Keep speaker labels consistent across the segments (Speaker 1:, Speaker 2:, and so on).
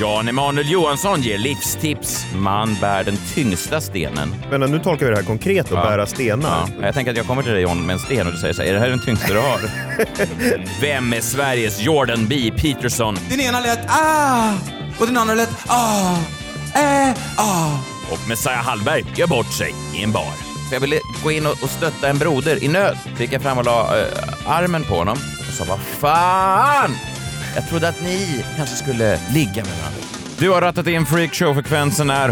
Speaker 1: Jan Emanuel Johansson ger livstips. Man bär den tyngsta stenen.
Speaker 2: Men nu tolkar vi det här konkret och
Speaker 1: Ja.
Speaker 2: bära stenar.
Speaker 1: Ja, jag tänker att jag kommer till dig John med en sten och du säger så här, är det här den tyngsta du har? Vem är Sveriges Jordan B. Peterson?
Speaker 3: Den ena lät ah och den andra lät ah. Eh, ah.
Speaker 1: Och Messiah Hallberg gör bort sig i en bar. Så jag ville gå in och, och stötta en broder i nöd. Så gick jag fram och la eh, armen på honom och sa vad fan! Jag trodde att ni kanske skulle ligga med varandra. Du har rattat in freakshow-frekvensen är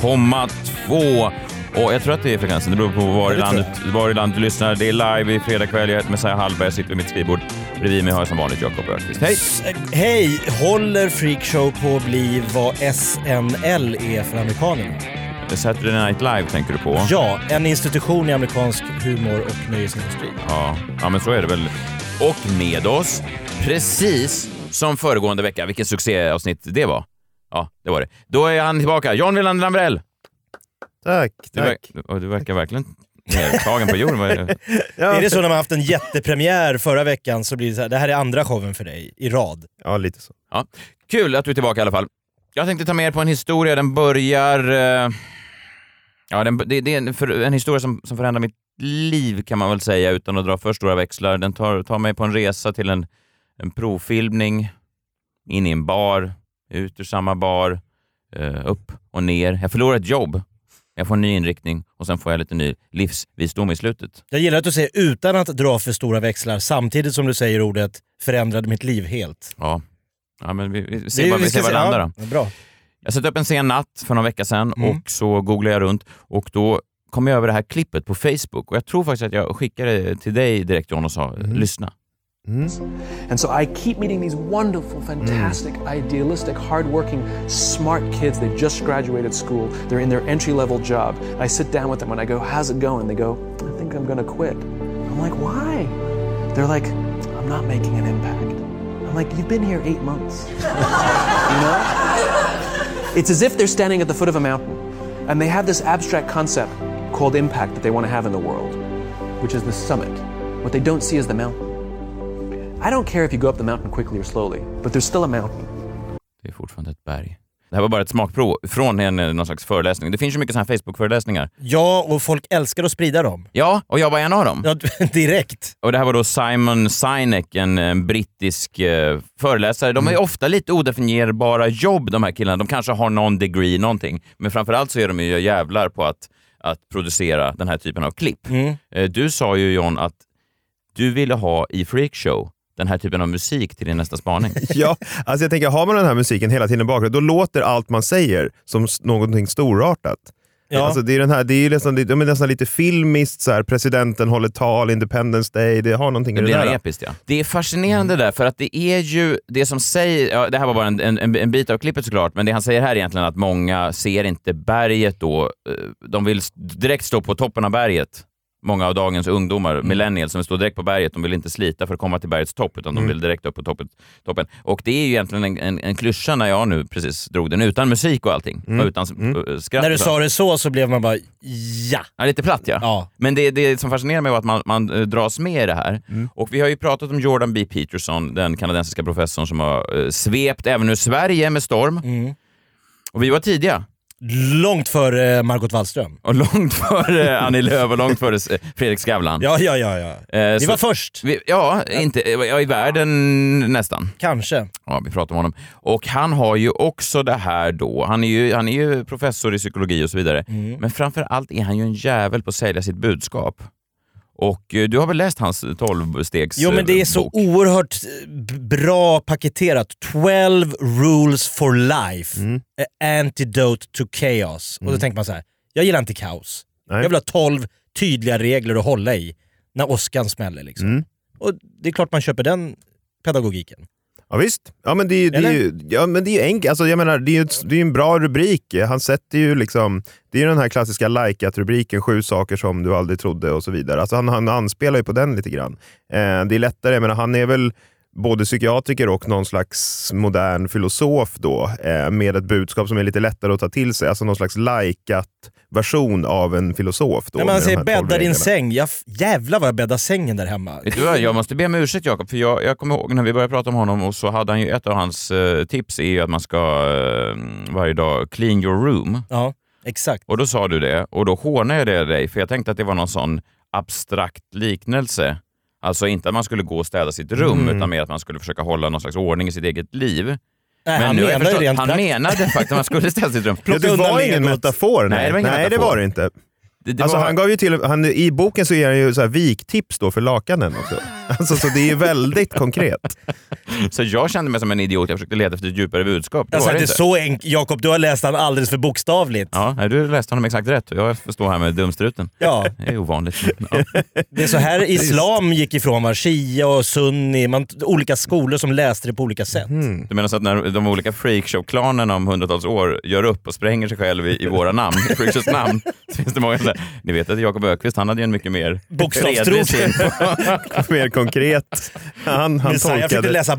Speaker 1: 107,2. Och jag tror att det är frekvensen, det beror på var i,
Speaker 2: det tror
Speaker 1: landet, var i landet du lyssnar. Det är live i fredag kväll, jag heter Messiah Hallberg, jag sitter vid mitt skrivbord. Bredvid mig har jag som vanligt Jakob Öqvist. Hej!
Speaker 4: Hej! Håller Freakshow på att bli vad SNL är för amerikanerna?
Speaker 1: Saturday Night Live tänker du på?
Speaker 4: Ja, en institution i amerikansk humor och nöjesindustri.
Speaker 1: Ja, ja men så är det väl. Och med oss, precis som föregående vecka, vilket succéavsnitt det var. Ja, det var det. Då är han tillbaka. John Wilander Lambrell!
Speaker 2: Tack,
Speaker 1: Du,
Speaker 2: tack.
Speaker 1: verk- och du verkar verkligen nedtagen på jorden. Vad är det?
Speaker 2: Ja,
Speaker 4: Är det så när man haft en jättepremiär förra veckan så blir det så här, det här är andra showen för dig i rad.
Speaker 2: ja, lite så.
Speaker 1: Ja. Kul att du är tillbaka i alla fall. Jag tänkte ta med er på en historia. Den börjar... eh, Ja, den, det, det är en, för, en historia som, som förändrar mitt liv kan man väl säga utan att dra för stora växlar. Den tar, tar mig på en resa till en, en provfilmning, in i en bar, ut ur samma bar, eh, upp och ner. Jag förlorar ett jobb, jag får en ny inriktning och sen får jag lite ny livsvisdom i slutet.
Speaker 4: Jag gillar att du säger utan att dra för stora växlar samtidigt som du säger ordet förändrade mitt liv helt.
Speaker 1: Ja, ja men vi, vi
Speaker 4: Det
Speaker 1: ser
Speaker 4: är-
Speaker 1: vad vi
Speaker 4: ska
Speaker 1: ser vad
Speaker 4: se-
Speaker 1: det landar då.
Speaker 4: ja, Bra.
Speaker 1: Jag satte upp en sen natt för någon vecka sedan
Speaker 4: Mm.
Speaker 1: och så googlade jag runt och då kom jag över det här klippet på Facebook och jag tror faktiskt att jag skickade det till dig direkt John och sa lyssna.
Speaker 5: And so I keep meeting these wonderful, fantastic, idealistic, hardworking, smart kids. They just graduated school. They're in their entry level job. And I sit down with them and I go, How's it going? They go, I think I'm going to quit. I'm like, Why? They're like, I'm not making an impact. I'm like, You've been here eight months. you know? It's as if they're standing at the foot of a mountain and they have this abstract concept called impact that they want to have in the world, which is the summit. What they don't see is the mountain. I don't care if you go up the mountain quickly or slowly, but there's still a mountain.
Speaker 1: Det är fortfarande ett berg. Det här var bara ett smakprov från en, eh, någon slags föreläsning. Det finns ju mycket sådana här Facebook-föreläsningar.
Speaker 4: Ja, och folk älskar att sprida dem.
Speaker 1: Ja, och jag var en av dem.
Speaker 4: Ja, direkt.
Speaker 1: Och det här var då Simon Sinek, en, en brittisk eh, föreläsare. De har ju ofta lite odefinierbara jobb de här killarna. De kanske har någon degree, någonting. Men framförallt så är de ju jävlar på att, att producera den här typen av klipp. Eh, du sa ju John att du ville ha i Freakshow den här typen av musik till din nästa spaning.
Speaker 2: Ja, alltså jag tänker, har man den här musiken hela tiden i bakgrunden, då låter allt man säger som s- någonting storartat.
Speaker 4: Ja.
Speaker 2: Alltså det är, den här, det är ju nästan, det är nästan lite filmiskt, så här, presidenten håller tal, Independence Day, det har någonting
Speaker 1: Det
Speaker 2: i
Speaker 1: blir
Speaker 2: det
Speaker 1: något
Speaker 2: där.
Speaker 1: episkt ja. Det är fascinerande
Speaker 4: Mm.
Speaker 1: där, för att det är ju det som säger, ja, det här var bara en, en, en bit av klippet såklart, men det han säger här är egentligen att många ser inte berget då. Eh, De vill s- direkt stå på toppen av berget. Många av dagens ungdomar,
Speaker 4: Mm.
Speaker 1: millennials, som vill stå direkt på berget, de vill inte slita för att komma till bergets topp, utan
Speaker 4: Mm.
Speaker 1: de vill direkt upp på toppet, toppen. Och det är ju egentligen en, en, en klyscha när jag nu precis drog den, utan musik och allting. Och utan s- eh, skratt.
Speaker 4: Mm. När du
Speaker 1: och så.
Speaker 4: sa det så så blev man bara ja.
Speaker 1: Ja, lite platt ja.
Speaker 4: Ja.
Speaker 1: Men det, det som fascinerar mig var att man, man eh, dras med i det här.
Speaker 4: Mm.
Speaker 1: Och vi har ju pratat om Jordan B. Peterson, den kanadensiska professorn som har eh, svept även ur Sverige med storm.
Speaker 4: Mm.
Speaker 1: Och vi var tidiga.
Speaker 4: Långt före Margot Wallström.
Speaker 1: Och långt före Annie Lööf och långt före eh, Fredrik Skavlan.
Speaker 4: Ja, ja, ja. ja.
Speaker 1: Eh,
Speaker 4: Vi
Speaker 1: så-
Speaker 4: var först,
Speaker 1: vi, ja, inte, ja, i världen nästan.
Speaker 4: kanske.
Speaker 1: Ja, vi pratar om honom. Och han har ju också det här då, han är ju, han är ju professor i psykologi och så vidare,
Speaker 4: Mm.
Speaker 1: men framför allt är han ju en jävel på att sälja sitt budskap. Och eh, du har väl läst hans 12-stegs
Speaker 4: Jo men det är
Speaker 1: eh,
Speaker 4: så
Speaker 1: bok?
Speaker 4: oerhört eh, b- bra paketerat. 12 rules for life. A antidote to chaos. Och då tänker man så här. jag gillar inte kaos.
Speaker 2: Nej.
Speaker 4: Jag vill ha 12 tydliga regler att Mm. hålla i när åskan smäller. Liksom. Och det är klart man köper den pedagogiken.
Speaker 2: Ja, visst. Ja, men det är ju, det är ju, ja, men det är ju enkelt. Alltså, jag menar, det är ju ett- det är ju en bra rubrik. Han sätter ju liksom... Det är ju den här klassiska likat-rubriken, sju saker som du aldrig trodde och så vidare. Alltså, han, han anspelar ju på den lite grann. Eh, det är lättare, jag menar, han är väl både psykiatriker och någon slags modern filosof då, eh, med ett budskap som är lite lättare att ta till sig. Alltså någon slags likat version av en filosof. Då,
Speaker 4: När man
Speaker 2: med de
Speaker 4: säger
Speaker 2: här tolv
Speaker 4: bädda din
Speaker 2: reglerna.
Speaker 4: säng. Jag, f- jävlar vad jag bäddar sängen där hemma.
Speaker 1: Vet du vad, jag måste be om ursäkt Jakob, för jag, jag kommer ihåg när vi började prata om honom och så hade han ju ett av hans eh, tips är ju att man ska eh, varje dag clean your room.
Speaker 4: Ja, exakt.
Speaker 1: Och då sa du det och då hånade jag det dig för jag tänkte att det var någon sån abstrakt liknelse. Alltså inte att man skulle gå och städa sitt rum utan mer att man skulle försöka hålla någon slags ordning i sitt eget liv.
Speaker 4: Mm. Nej,
Speaker 1: Men
Speaker 4: han
Speaker 1: nu har jag
Speaker 4: menar ju
Speaker 1: förstått-
Speaker 4: rent
Speaker 1: han
Speaker 4: praktiskt.
Speaker 1: menade faktiskt att man skulle städa sitt rum.
Speaker 2: Ja, det
Speaker 4: undan
Speaker 2: var ingen
Speaker 4: legot.
Speaker 2: metafor. Nej,
Speaker 1: Nej, det var ingen
Speaker 2: nej det
Speaker 1: metafor.
Speaker 2: var det inte.
Speaker 1: Det, det
Speaker 2: alltså
Speaker 1: var-
Speaker 2: han gav ju till, han, I boken så ger han ju så här viktips då för lakanen också. Alltså, så det är ju väldigt konkret.
Speaker 1: Så jag kände mig som en idiot. Jag försökte leta efter ett djupare budskap. Det
Speaker 4: Alltså,
Speaker 1: var det
Speaker 4: det är
Speaker 1: inte.
Speaker 4: så enkelt. Jakob, du har läst han alldeles för bokstavligt.
Speaker 1: Ja, nej, du läste honom exakt rätt och jag står här med dumstruten.
Speaker 4: Ja.
Speaker 1: Det är ovanligt. men Ja.
Speaker 4: Det är så här islam gick ifrån var Shia och sunni. Man, olika skolor som läste det på olika sätt.
Speaker 1: Du menar så att när de olika freakshow-klanerna om hundratals år gör upp och spränger sig själv i, i våra namn, i freakshows namn, så finns det många så här, Ni vet att Jakob Ökvist han hade ju en mycket mer
Speaker 4: Bokstavstro.
Speaker 1: fredlig syn på-
Speaker 2: Mer konkret. Han, han
Speaker 4: Men så här, jag försökte
Speaker 2: tolkade...
Speaker 4: läsa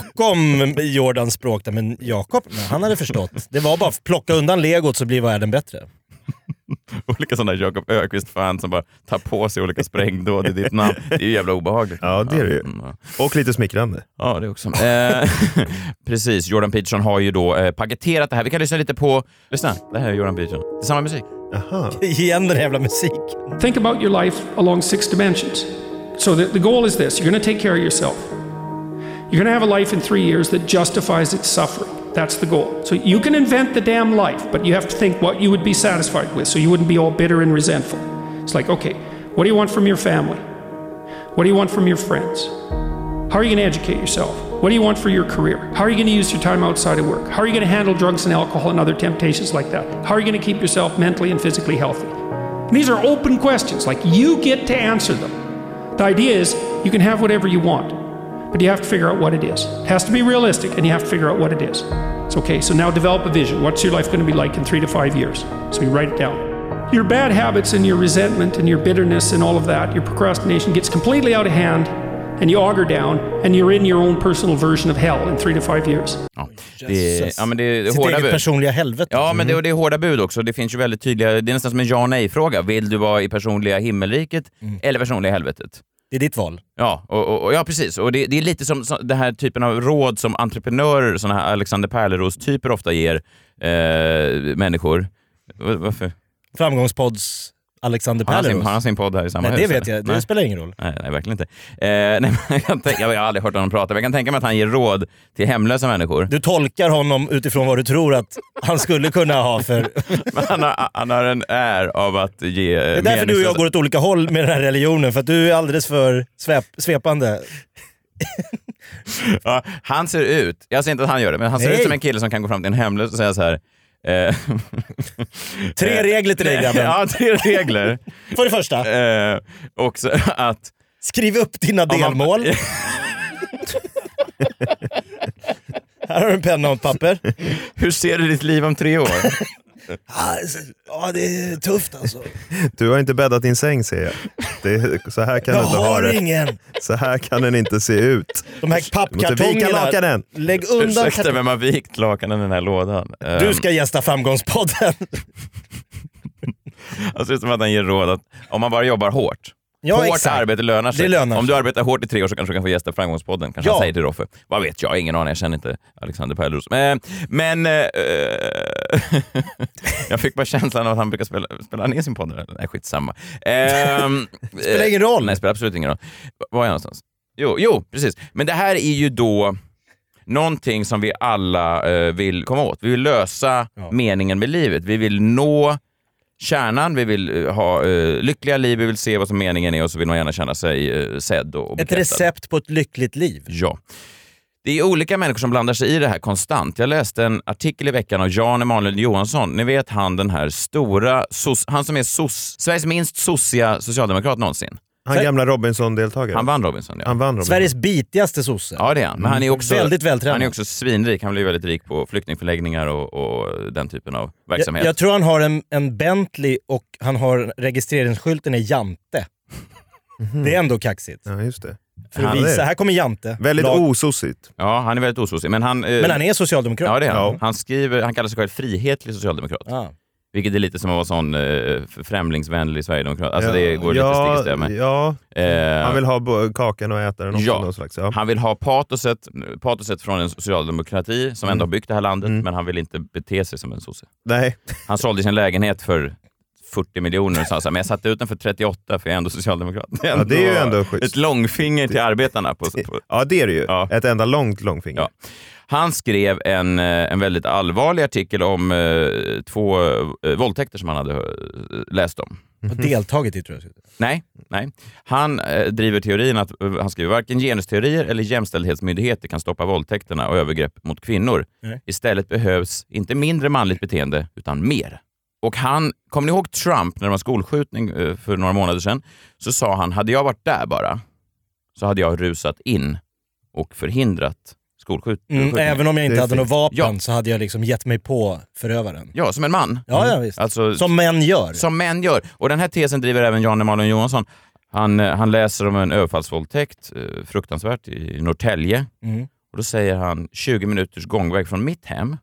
Speaker 4: bakom Jordans språk, där, men Jakob, nej, han hade förstått. Det var bara att plocka undan legot så blir världen bättre.
Speaker 1: olika sådana Jakob Ökvist-fans som bara tar på sig olika sprängdåd i ditt namn. Det är ju jävla obehagligt.
Speaker 2: Ja, det är det ju.
Speaker 1: Mm, ja.
Speaker 2: Och lite smickrande.
Speaker 1: Ja, det också. Eh, precis, Jordan Peterson har ju då eh, paketerat det här. Vi kan lyssna lite på... Lyssna, det här är Jordan Peterson. Det är samma musik.
Speaker 2: Aha.
Speaker 4: Igen den jävla musiken.
Speaker 6: Think about your life along six dimensions. So the, the goal is this you're going to take care of yourself. You're going to have a life in three years that justifies its suffering. That's the goal. So you can invent the damn life, but you have to think what you would be satisfied with so you wouldn't be all bitter and resentful. It's like, okay, what do you want from your family? What do you want from your friends? How are you going to educate yourself? What do you want for your career? How are you going to use your time outside of work? How are you going to handle drugs and alcohol and other temptations like that? How are you going to keep yourself mentally and physically healthy? And these are open questions, like you get to answer them. The idea is you can have whatever you want, but you have to figure out what it is. It has to be realistic and you have to figure out what it is. It's okay, so now develop a vision. What's your life going to be like in three to five years? So you write it down. Your bad habits and your resentment and your bitterness and all of that, your procrastination gets completely out of hand and you auger down and you're in your own personal version of hell in three to five years.
Speaker 1: Ja, det, är- ja, men det är
Speaker 4: Sitt
Speaker 1: hårda
Speaker 4: eget
Speaker 1: bud.
Speaker 4: personliga helvete.
Speaker 1: Ja, men det, och det är hårda bud också. Det finns ju väldigt tydliga... Det är nästan som en ja och nej-fråga. Vill du vara i personliga himmelriket
Speaker 4: Mm.
Speaker 1: eller personliga helvetet?
Speaker 4: Det är ditt val.
Speaker 1: Ja, och, och- och, ja precis. Och det, det är lite som, som den här typen av råd som entreprenörer, såna här Alexander Pärleros-typer ofta ger eh, människor. Va- Varför?
Speaker 4: Framgångspods Alexander
Speaker 1: Har han, sin,
Speaker 4: Pärleros.
Speaker 1: har han sin podd här i samma
Speaker 4: Nej, det
Speaker 1: hus,
Speaker 4: vet
Speaker 1: eller?
Speaker 4: jag.
Speaker 1: Nej.
Speaker 4: Det spelar ingen roll.
Speaker 1: Nej, nej, verkligen inte. Eh, nej, men jag, kan tänka, jag har aldrig hört honom prata, men jag kan tänka mig att han ger råd till hemlösa människor.
Speaker 4: Du tolkar honom utifrån vad du tror att han skulle kunna ha för...
Speaker 1: Men han, har, han har en är av att ge... eh,
Speaker 4: Det är därför du och jag går åt olika håll med den här religionen, för att du är alldeles för svep, svepande.
Speaker 1: Ja, han ser ut, jag säger inte att han gör det, men han ser
Speaker 4: Nej.
Speaker 1: ut som en kille som kan gå fram till en hemlös och säga så här... Eh,
Speaker 4: Tre regler till dig grabben.
Speaker 1: ja, tre regler.
Speaker 4: För det första,
Speaker 1: eh, också att...
Speaker 4: skriv upp dina
Speaker 1: man-
Speaker 4: delmål. Här har du en penna och ett papper.
Speaker 1: Hur ser du ditt liv om tre år?
Speaker 4: alltså, Ja, det är tufft alltså.
Speaker 2: Du har inte bäddat din säng ser jag. Det, är- så här kan
Speaker 4: Jag
Speaker 2: du inte ha
Speaker 4: har
Speaker 2: det.
Speaker 4: ingen.
Speaker 2: Så här kan den inte se ut.
Speaker 4: De här
Speaker 2: vika
Speaker 4: pappkartongerna.
Speaker 2: lakanen.
Speaker 4: Lägg undan
Speaker 1: Ursäkta,
Speaker 4: kartongerna.
Speaker 1: vem har vikt lakanen i den här lådan? Eh,
Speaker 4: Du ska gästa Framgångspodden.
Speaker 1: Han ser ut som att han ger råd att om man bara jobbar hårt,
Speaker 4: Ja,
Speaker 1: hårt
Speaker 4: exakt.
Speaker 1: arbete lönar sig.
Speaker 4: Det lönar
Speaker 1: om
Speaker 4: sig.
Speaker 1: du arbetar hårt i tre år så kanske du kan få gästa Framgångspodden, kanske
Speaker 4: Ja.
Speaker 1: han säger till Roffe. Vad vet jag, ingen aning, jag känner inte Alexander Pärleros. Eh, Men... eh, jag fick bara känslan av att han brukar spela, spela ner sin podd. där. Nej, skitsamma. Ehm,
Speaker 4: Spelar ingen roll.
Speaker 1: Nej, spelar absolut ingen roll. V- Var är jag någonstans? Jo, jo, precis. Men det här är ju då någonting som vi alla eh, vill komma åt. Vi vill lösa meningen med livet. Vi vill nå kärnan, vi vill eh, ha eh, lyckliga liv, vi vill se vad som meningen är och så vill man gärna känna sig eh, sedd och
Speaker 4: Ett
Speaker 1: bekräftad.
Speaker 4: recept på ett lyckligt liv.
Speaker 1: Ja. Det är olika människor som blandar sig i det här konstant. Jag läste en artikel i veckan av Jan Emanuel Johansson. Ni vet han den här stora, sos, han som är sos, Sveriges minst sossiga socialdemokrat någonsin.
Speaker 2: Han
Speaker 4: Sver-
Speaker 2: gamla Robinson-deltagare.
Speaker 1: Han vann Robinson, ja.
Speaker 2: Han vann Robinson.
Speaker 4: Sveriges bitigaste sosse.
Speaker 1: Ja, det är han. Men han är också,
Speaker 4: Väldigt vältränad.
Speaker 1: Han är också svinrik. Han blir väldigt rik på flyktingförläggningar och, och den typen av verksamhet.
Speaker 4: Jag, jag tror han har en, en Bentley och han har registreringsskylten är Jante.
Speaker 2: Mhm.
Speaker 4: Det är ändå kaxigt.
Speaker 2: Ja, just det.
Speaker 4: För att
Speaker 2: Han är-
Speaker 4: visa, här kommer Jante.
Speaker 2: Väldigt
Speaker 4: Lag-
Speaker 2: osossigt.
Speaker 1: Ja, han är väldigt osossig. Men han... eh,
Speaker 4: Men han är socialdemokrat.
Speaker 1: Ja, det är han.
Speaker 2: Ja.
Speaker 1: Han, skriver, han kallar sig själv frihetlig socialdemokrat.
Speaker 4: Ja.
Speaker 1: Vilket är lite som att vara sån eh, främlingsvänlig sverigedemokrat. Alltså
Speaker 2: Ja,
Speaker 1: det går lite stick i stäv med.
Speaker 2: Ja,
Speaker 1: Eh,
Speaker 2: han vill ha bo- kakan och äta den också.
Speaker 1: Ja.
Speaker 2: Någon slags. Ja.
Speaker 1: Han vill ha patoset, patoset från en socialdemokrati som ändå har byggt det här landet, men han vill inte bete sig som en sosse.
Speaker 2: Nej.
Speaker 1: Han sålde sin lägenhet för 40 miljoner och sa så här, men jag satte ut den för 38 för jag är ändå socialdemokrat.
Speaker 2: Ja, det är ju ändå schysst.
Speaker 1: Ett långfinger till arbetarna. På, på.
Speaker 2: Ja, det är det ju.
Speaker 1: Ja.
Speaker 2: Ett enda långt långfinger.
Speaker 1: Ja. Han skrev en, eh, en väldigt allvarlig artikel om eh, två eh, våldtäkter som han hade eh, läst om.
Speaker 4: Och deltagit i tror jag.
Speaker 1: Nej, nej. Han eh, driver teorin att eh, han skriver varken genusteorier eller jämställdhetsmyndigheter kan stoppa våldtäkterna och övergrepp mot kvinnor.
Speaker 4: Nej.
Speaker 1: Istället behövs inte mindre manligt beteende, utan mer. Och han, kommer ni ihåg Trump när det var skolskjutning eh, för några månader sedan? Så sa han, hade jag varit där bara, så hade jag rusat in och förhindrat skolskjutningen.
Speaker 4: Mm, även om jag
Speaker 2: Det
Speaker 4: inte
Speaker 2: är
Speaker 4: hade något vapen
Speaker 1: Ja.
Speaker 4: så hade jag liksom gett mig på förövaren.
Speaker 1: Ja, som en man.
Speaker 4: Ja, ja visst.
Speaker 1: Alltså,
Speaker 4: Som män gör.
Speaker 1: som män gör. Och den här tesen driver även Jan Emanuel Johansson. Han, eh, han läser om en överfallsvåldtäkt, eh, fruktansvärt, i Norrtälje.
Speaker 4: Mm.
Speaker 1: Och då säger han 20 minuters gångväg från mitt hem.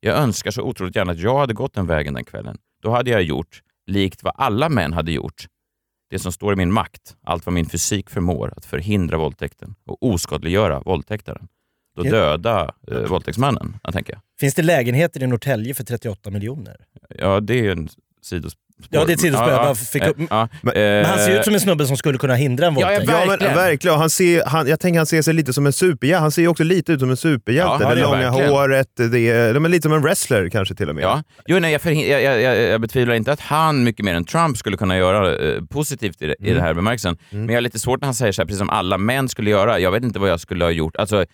Speaker 1: Jag önskar så otroligt gärna att jag hade gått den vägen den kvällen. Då hade jag gjort, likt vad alla män hade gjort, det som står i min makt, allt vad min fysik förmår, att förhindra våldtäkten och oskadliggöra våldtäktaren. Då
Speaker 4: Ja.
Speaker 1: döda eh, våldtäktsmannen, jag tänker jag.
Speaker 4: Finns det lägenheter i Norrtälje för 38 miljoner?
Speaker 1: Ja, det är ju en sidospår.
Speaker 4: Ja, det är ett sidospår. Jag bara fick
Speaker 1: Eh,
Speaker 4: upp-
Speaker 1: Men,
Speaker 4: Men han ser ut som en snubbe som skulle kunna hindra en
Speaker 1: Ja, jag
Speaker 4: våldtäkt.
Speaker 1: vet.
Speaker 2: Ja, men,
Speaker 1: Verkligen.
Speaker 2: verkligen. Han ser, han, jag tänker han ser sig lite som en superhjälte. Han ser ju också lite ut som en superhjälte.
Speaker 1: Ja,
Speaker 2: det
Speaker 1: ja,
Speaker 2: långa
Speaker 1: verkligen.
Speaker 2: håret, det, är- men lite som en wrestler kanske till och med.
Speaker 1: Ja. Jo, nej, jag, förhin- jag, jag, jag, jag betvivlar inte att han mycket mer än Trump skulle kunna göra eh, positivt i, det-
Speaker 4: Mm.
Speaker 1: i den här bemärkelsen. Men jag har lite svårt när han säger så här, precis som alla män skulle göra. Jag vet inte vad jag skulle ha gjort. Alltså,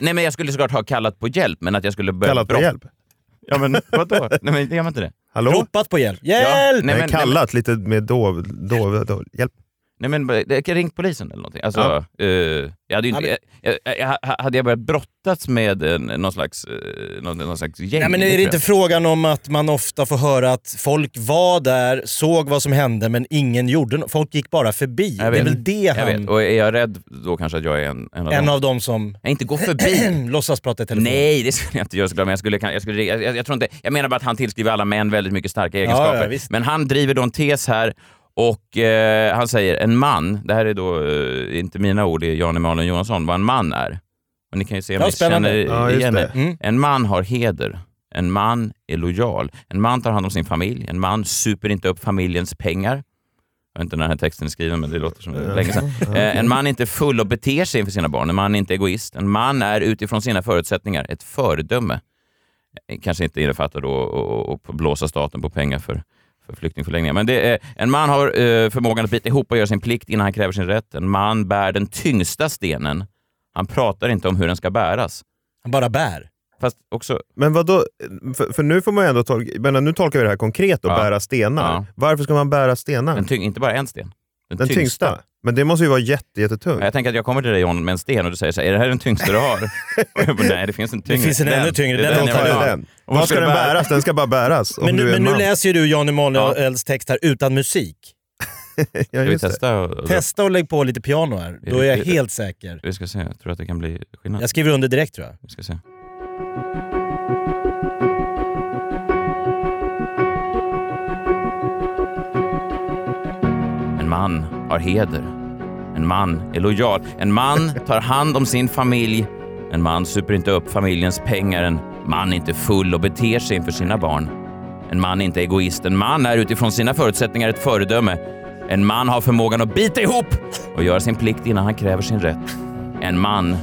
Speaker 1: nej, men jag skulle såklart ha kallat på hjälp, men att jag skulle börja...
Speaker 2: Kallat på
Speaker 1: brott-
Speaker 2: hjälp.
Speaker 1: Ja, men vadå? nej, men gör man inte det?
Speaker 2: Hallå?
Speaker 4: Ropat på hjälp.
Speaker 1: Ja,
Speaker 4: Hjälp!
Speaker 2: nej,
Speaker 1: nej, men, nej,
Speaker 2: kallat lite med dov, dov, dov, hjälp.
Speaker 1: men, nej, men det- ringt polisen eller någonting. Alltså, eh, jag hade, ju inte, jag, jag, jag, hade jag börjat brottas med en, någon slags, eh, någon, någon slags gäng?
Speaker 4: Nej, men
Speaker 1: tror
Speaker 4: är det
Speaker 1: jag.
Speaker 4: inte frågan om att man ofta får höra att folk var där, såg vad som hände, men ingen gjorde något? Folk gick bara förbi. Det
Speaker 1: Jag
Speaker 4: är
Speaker 1: vet.
Speaker 4: väl det
Speaker 1: Jag vet.
Speaker 4: han...
Speaker 1: Och är jag rädd då kanske att jag är en, en av
Speaker 4: En
Speaker 1: dem?
Speaker 4: av dem som
Speaker 1: Nej, inte gå förbi.
Speaker 4: låtsas prata i telefon.
Speaker 1: Nej, det skulle jag inte göra såklart. Men jag, skulle, jag, skulle, jag, jag, jag, tror inte, jag menar bara att han tillskriver alla män väldigt mycket starka egenskaper.
Speaker 4: ja, visst.
Speaker 1: men han driver då en tes här och eh, han säger en man, det här är då eh, inte mina ord, det är Jan Emanuel Johansson, vad en man är. Och ni kan ju se om
Speaker 4: Ja,
Speaker 1: ni
Speaker 4: spännande. Mm.
Speaker 1: känner
Speaker 2: Ja, just
Speaker 1: igen
Speaker 2: det.
Speaker 1: det. En man har heder. En man är lojal. En man tar hand om sin familj. En man super inte upp familjens pengar. Jag vet inte när den här texten är skriven, men det låter som länge sedan. Eh, En man är inte full och beter sig inför sina barn. En man är inte egoist. En man är utifrån sina förutsättningar ett föredöme. Eh, Kanske inte innefattar då att- att- att blåsa staten på pengar för, för flyktingförläggningar. Men det är, en man har eh, förmågan att bita ihop och göra sin plikt innan han kräver sin rätt. En man bär den tyngsta stenen. Han pratar inte om hur den ska bäras.
Speaker 4: Han bara bär.
Speaker 1: Fast också...
Speaker 2: Men vad då? För, för nu får man ju ändå tolka, men nu tolkar vi det här konkret och
Speaker 1: Ja.
Speaker 2: bära stenar.
Speaker 1: Ja.
Speaker 2: Varför ska man bära stenar?
Speaker 1: Den
Speaker 2: Den,
Speaker 1: tyng, inte bara en sten. Den,
Speaker 2: tyngsta. Men det måste ju vara jätte, jättetungt.
Speaker 1: Ja, Jag tänker att jag kommer till dig John med en sten och du säger så här, är det här den tyngsta du har? Och jag bara, Nej, det finns en tyngre.
Speaker 4: finns en ännu tyngre.
Speaker 1: Det är
Speaker 4: Den
Speaker 1: den
Speaker 2: Jag
Speaker 1: jag
Speaker 2: tar
Speaker 1: vill
Speaker 2: ju
Speaker 1: ha.
Speaker 2: den.
Speaker 1: Och vad
Speaker 2: Vad ska
Speaker 1: ska
Speaker 2: den
Speaker 1: du bära?
Speaker 2: bäras? Den ska bara bäras. Om
Speaker 4: Men
Speaker 2: du
Speaker 4: nu,
Speaker 2: är en
Speaker 4: men nu
Speaker 2: man.
Speaker 4: läser ju du Jan Emanuels text här utan musik.
Speaker 2: Ja,
Speaker 1: Ska vi
Speaker 2: just det.
Speaker 1: testa? Och, och,
Speaker 4: Testa och lägg på lite piano här. Då är jag
Speaker 1: det- det-
Speaker 4: helt säker.
Speaker 1: vi ska se, jag tror att det kan bli skillnad.
Speaker 4: Jag skriver under direkt tror jag.
Speaker 1: Vi ska se. En man har heder. En man är lojal. En man tar hand om sin familj. En man super inte upp familjens pengar. En man är inte full och beter sig inför sina barn. En man är inte egoist. En man är utifrån sina förutsättningar ett föredöme. En man har förmågan att bita ihop och göra sin plikt innan han kräver sin rätt. En man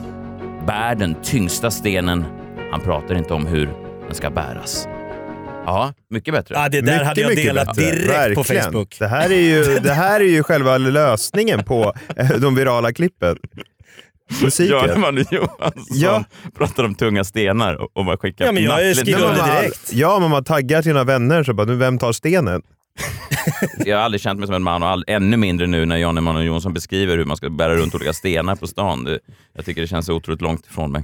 Speaker 1: bär den tyngsta stenen. Han pratar inte om hur den ska bäras. Ja, mycket bättre.
Speaker 4: Ah, det där hade jag
Speaker 2: mycket
Speaker 4: delat
Speaker 2: bättre.
Speaker 4: direkt på
Speaker 2: Verkligen.
Speaker 4: Facebook.
Speaker 2: Det här, är ju, det här är ju själva lösningen på eh, de virala klippen. Musiken.
Speaker 1: Göran Manuel Johansson
Speaker 2: Ja.
Speaker 1: pratar om tunga stenar och- och man skickar
Speaker 4: Ja, men jag
Speaker 1: nattligt-
Speaker 4: skriver
Speaker 2: Nej, men
Speaker 4: under
Speaker 2: man,
Speaker 4: direkt.
Speaker 2: ja, men man taggar sina vänner så bara, nu, vem tar stenen?
Speaker 1: Jag har aldrig känt mig som en man och all, ännu mindre nu när Jan Emanuel Johansson beskriver hur man ska bära runt olika stenar på stan. Det, jag tycker det känns så otroligt långt ifrån mig.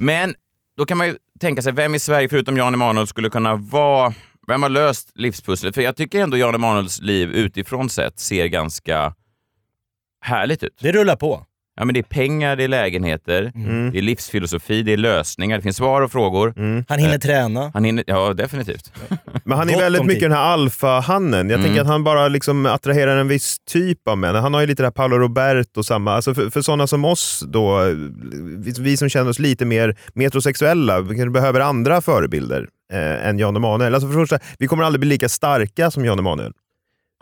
Speaker 1: Men då kan man ju tänka sig, vem i Sverige förutom Jan Emanuel skulle kunna vara... Vem har löst livspusslet? För jag tycker ändå Jan Emanuels liv utifrån sett ser ganska härligt ut.
Speaker 4: Det rullar på.
Speaker 1: Ja, men det är pengar, det är lägenheter,
Speaker 4: Mm.
Speaker 1: det är livsfilosofi, det är lösningar, det finns svar och frågor.
Speaker 2: Mm.
Speaker 4: Han hinner träna.
Speaker 1: Han hinner, ja, definitivt.
Speaker 2: Men han är
Speaker 4: Gott
Speaker 2: väldigt
Speaker 4: om
Speaker 2: mycket
Speaker 4: tid. Mm.
Speaker 2: den här alfahannen. Jag tänker att han bara liksom attraherar en viss typ av män. Han har ju lite det här Paolo Roberto och samma. Alltså för, för sådana som oss då, vi, vi som känner oss lite mer metrosexuella, vi kanske behöver andra förebilder eh, än Jan Emanuel. Alltså för det första, vi kommer aldrig bli lika starka som Jan Emanuel.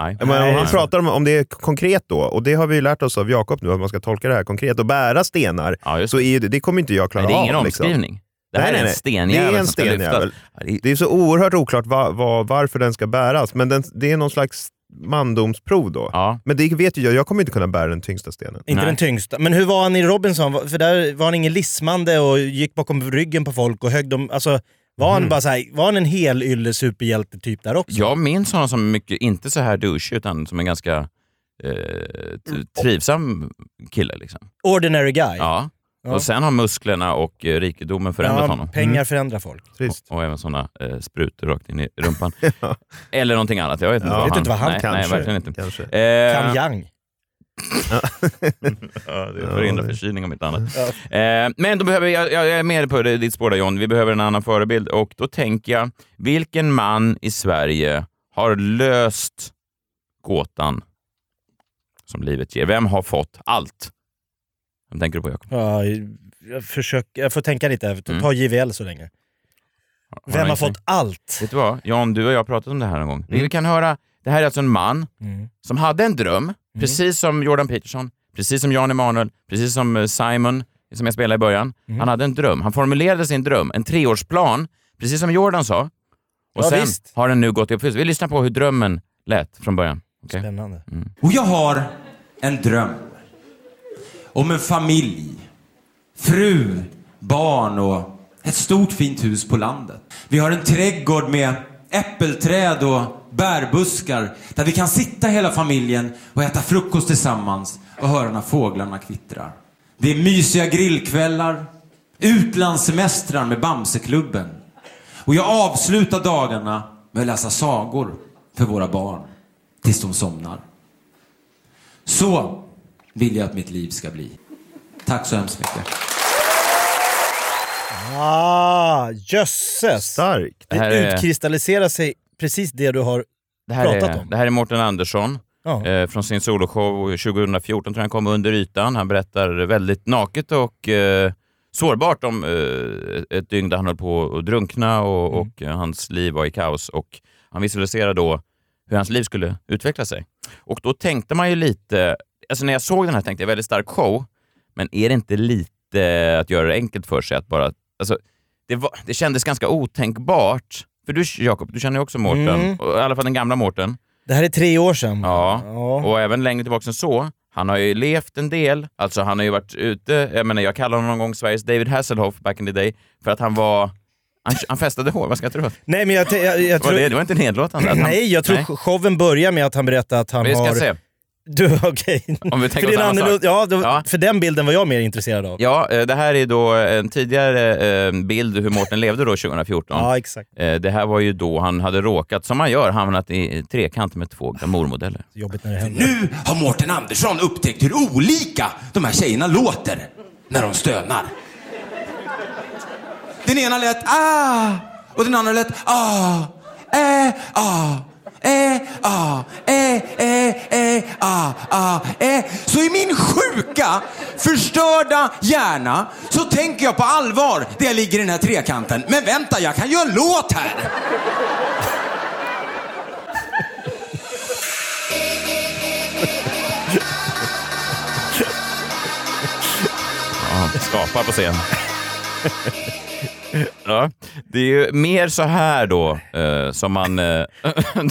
Speaker 1: Nej.
Speaker 2: Men om han pratar om, om det är konkret då, och det har vi ju lärt oss av Jakob nu, att man ska tolka det här konkret och bära stenar, så är det, det kommer inte jag klara
Speaker 1: Nej, det är ingen
Speaker 2: av. liksom.
Speaker 1: omskrivning. Det här är en stenjävel
Speaker 2: Det är en
Speaker 1: som ska lyftas.
Speaker 2: stenjävel. Det är så oerhört oklart va, va, varför den ska bäras, men den, det är någon slags mandomsprov då. Men det vet ju jag, jag kommer inte kunna bära den tyngsta stenen.
Speaker 4: Inte den tyngsta. Men hur var han i Robinson? För där var han ingen lismande och gick bakom ryggen på folk och högg dem. Alltså, var han
Speaker 1: Mm.
Speaker 4: bara så här, var han en hel ylle superhjälte-typ där också?
Speaker 1: Jag minns honom som mycket, inte så här douche, utan som en ganska eh, t-
Speaker 2: Mm.
Speaker 1: trivsam kille. Liksom.
Speaker 4: Ordinary guy.
Speaker 1: Ja.
Speaker 4: Ja.
Speaker 1: Och sen har musklerna och eh, rikedomen förändrat
Speaker 4: Ja,
Speaker 1: honom. Mm.
Speaker 4: Pengar förändrar folk.
Speaker 1: Och, och även sådana eh, sprutor rakt in i rumpan. Eller någonting annat. Jag vet inte,
Speaker 4: Ja.
Speaker 1: vad,
Speaker 4: Vet
Speaker 1: han,
Speaker 4: inte vad han-
Speaker 1: nej,
Speaker 4: kanske.
Speaker 1: Nej, verkligen inte.
Speaker 4: Kanske.
Speaker 1: Eh,
Speaker 4: Kamjang.
Speaker 1: ja, det förhindrar förkylning om inte annat.
Speaker 4: Ja.
Speaker 1: Eh, men då behöver, jag, jag jag är med på det- ditt spår där John, vi behöver en annan förebild och då tänker jag, vilken man i Sverige har löst gåtan som livet ger? Vem har fått allt? Vem tänker du på Jakob?
Speaker 4: Ja, jag, försöker, jag får tänka lite. Ta
Speaker 1: Mm.
Speaker 4: JVL så länge.
Speaker 1: du
Speaker 4: Vem har
Speaker 1: någon
Speaker 4: fått
Speaker 1: gissning?
Speaker 4: allt?
Speaker 1: Vet du vad? John, du och jag har pratat om det här någon gång. Vi kan höra, det här är alltså en man som hade en dröm, precis som Jordan Peterson, precis som Jan Emanuel, precis som eh, Simon som jag spelade i början. Han hade en dröm. Han formulerade sin dröm, en treårsplan, precis som Jordan sa. Och
Speaker 6: Ja,
Speaker 1: sen
Speaker 6: visst.
Speaker 1: har den nu gått i uppfyllelse. Vi lyssnar på hur drömmen lät från början. Okej? Mm.
Speaker 4: Spännande.
Speaker 3: Och jag har en dröm. Om en familj. Fru, barn och ett stort fint hus på landet. Vi har en trädgård med äppelträd och bärbuskar där vi kan sitta hela familjen och äta frukost tillsammans och höra när fåglarna kvittrar. Det är mysiga grillkvällar, utlandssemestrar med Bamseklubben och jag avslutar dagarna med att läsa sagor för våra barn tills de somnar. Så vill jag att mitt liv ska bli. Tack så hemskt mycket.
Speaker 4: Ah, jösses!
Speaker 2: Starkt.
Speaker 4: Det,
Speaker 1: Det här är-
Speaker 4: utkristalliserar sig precis det du har
Speaker 1: Det här,
Speaker 4: pratat
Speaker 1: är,
Speaker 4: om.
Speaker 1: det här är Mårten Andersson
Speaker 4: Ja.
Speaker 1: eh, från sin soloshow 2014 tror jag han kom under ytan. Han berättar väldigt naket och eh, sårbart om eh, ett dygn där han höll på att drunkna och,
Speaker 4: Mm.
Speaker 1: och eh, hans liv var i kaos. Och han visualiserade då hur hans liv skulle utveckla sig. Och då tänkte man ju lite, alltså när jag såg den här tänkte jag väldigt stark show, men är det inte lite att göra det enkelt för sig att bara, alltså det, var, det kändes ganska otänkbart. För du Jakob, du känner ju också Mårten,
Speaker 4: Mm.
Speaker 1: och i alla fall den gamla Mårten.
Speaker 4: Det här är tre år sedan.
Speaker 1: Ja. och även längre tillbaka än så. Han har ju levt en del, alltså han har ju varit ute, jag menar jag kallade honom någon gång Sveriges David Hasselhoff back in the day, för att han var, han, han festade hår, vad ska jag tro?
Speaker 4: Nej, men jag, te- jag, jag
Speaker 1: Var
Speaker 4: tror...
Speaker 1: det, det var inte nedlåtande. att han-
Speaker 4: Nej, jag tror
Speaker 1: Nej.
Speaker 4: showen börjar med att han berättar att han
Speaker 1: Men jag ska
Speaker 4: har
Speaker 1: se.
Speaker 4: Du, okej.
Speaker 1: Om vi tänker
Speaker 4: För
Speaker 1: oss
Speaker 4: det är en
Speaker 1: annan sak.
Speaker 4: annorlunda- ja, då- För den bilden var jag mer intresserad av.
Speaker 1: Ja, eh, det här är då en tidigare eh, bild hur Mårten levde då 2014.
Speaker 4: Ja, exakt.
Speaker 1: Eh, Det här var ju då han hade råkat, som han gör, hamnat i trekant med två glamourmodeller.
Speaker 4: Jobbigt när det händer.
Speaker 3: Nu har Mårten Andersson upptäckt hur olika de här tjejerna låter när de stönar. Den ena lät ah och den andra lät ah, eh, ah, eh, ah, eh, eh, eh, ah, ah, eh. Så i min sjuka, förstörda hjärna så tänker jag på allvar där jag ligger i den här trekanten. Men vänta, jag kan göra en låt här.
Speaker 1: Ja, skapar på scen. Ja, det är ju mer så här då eh, som man... Eh,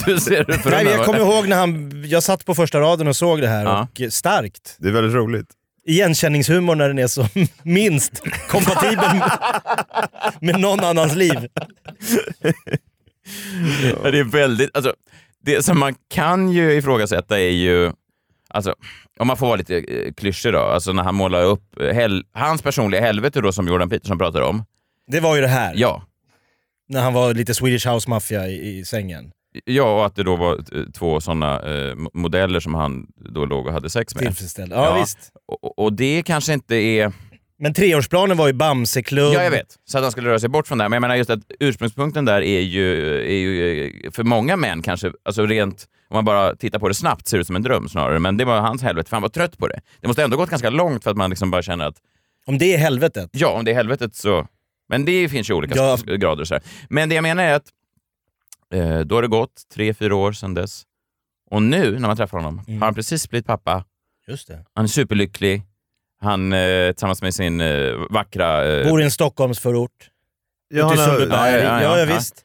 Speaker 1: du ser hur
Speaker 4: Nej,
Speaker 1: förunnad-
Speaker 4: jag kommer ihåg när han, jag satt på första raden och såg det här.
Speaker 1: Ja.
Speaker 4: Och starkt.
Speaker 2: Det är väldigt roligt.
Speaker 4: Igenkänningshumor när den är som minst kompatibel med, med någon annans liv.
Speaker 1: Ja, det är väldigt... Alltså, det som man kan ju ifrågasätta är ju... Alltså, om man får vara lite eh, klyschig då, alltså när han målar upp eh, hel, hans personliga helvete då som Jordan Peterson pratar om.
Speaker 4: Det var ju det här.
Speaker 1: Ja.
Speaker 4: När han var lite Swedish House Mafia i, i sängen.
Speaker 1: Ja, och att det då var eh, två sådana eh, mo- modeller som han då låg och hade sex med.
Speaker 4: Tillfredsställd. Ja, visst.
Speaker 1: Och, och det kanske inte är...
Speaker 4: Men treårsplanen var ju Bamseklubb.
Speaker 1: Ja, jag vet. Så att han skulle röra sig bort från det här. Men jag menar just att ursprungspunkten där är ju, är ju eh, för många män kanske, alltså rent, om man bara tittar på det snabbt, ser det ut som en dröm snarare. Men det var hans helvete, för han var trött på det. Det måste ändå gått ganska långt för att man liksom bara känner att...
Speaker 4: Om det är helvetet?
Speaker 1: Ja, om det är helvetet så... Men det finns ju olika
Speaker 4: Ja.
Speaker 1: s- grader och så här. Men det jag menar är att eh, då har det gått tre, fyra år sedan dess. Och nu när man träffar honom
Speaker 4: Mm.
Speaker 1: har han precis blivit pappa.
Speaker 4: Just det.
Speaker 1: Han är superlycklig. Han eh, tillsammans med sin eh, vackra... Eh,
Speaker 4: Bor i en Stockholmsförort. Ute i Sundbyberg. Ja, ja, visst.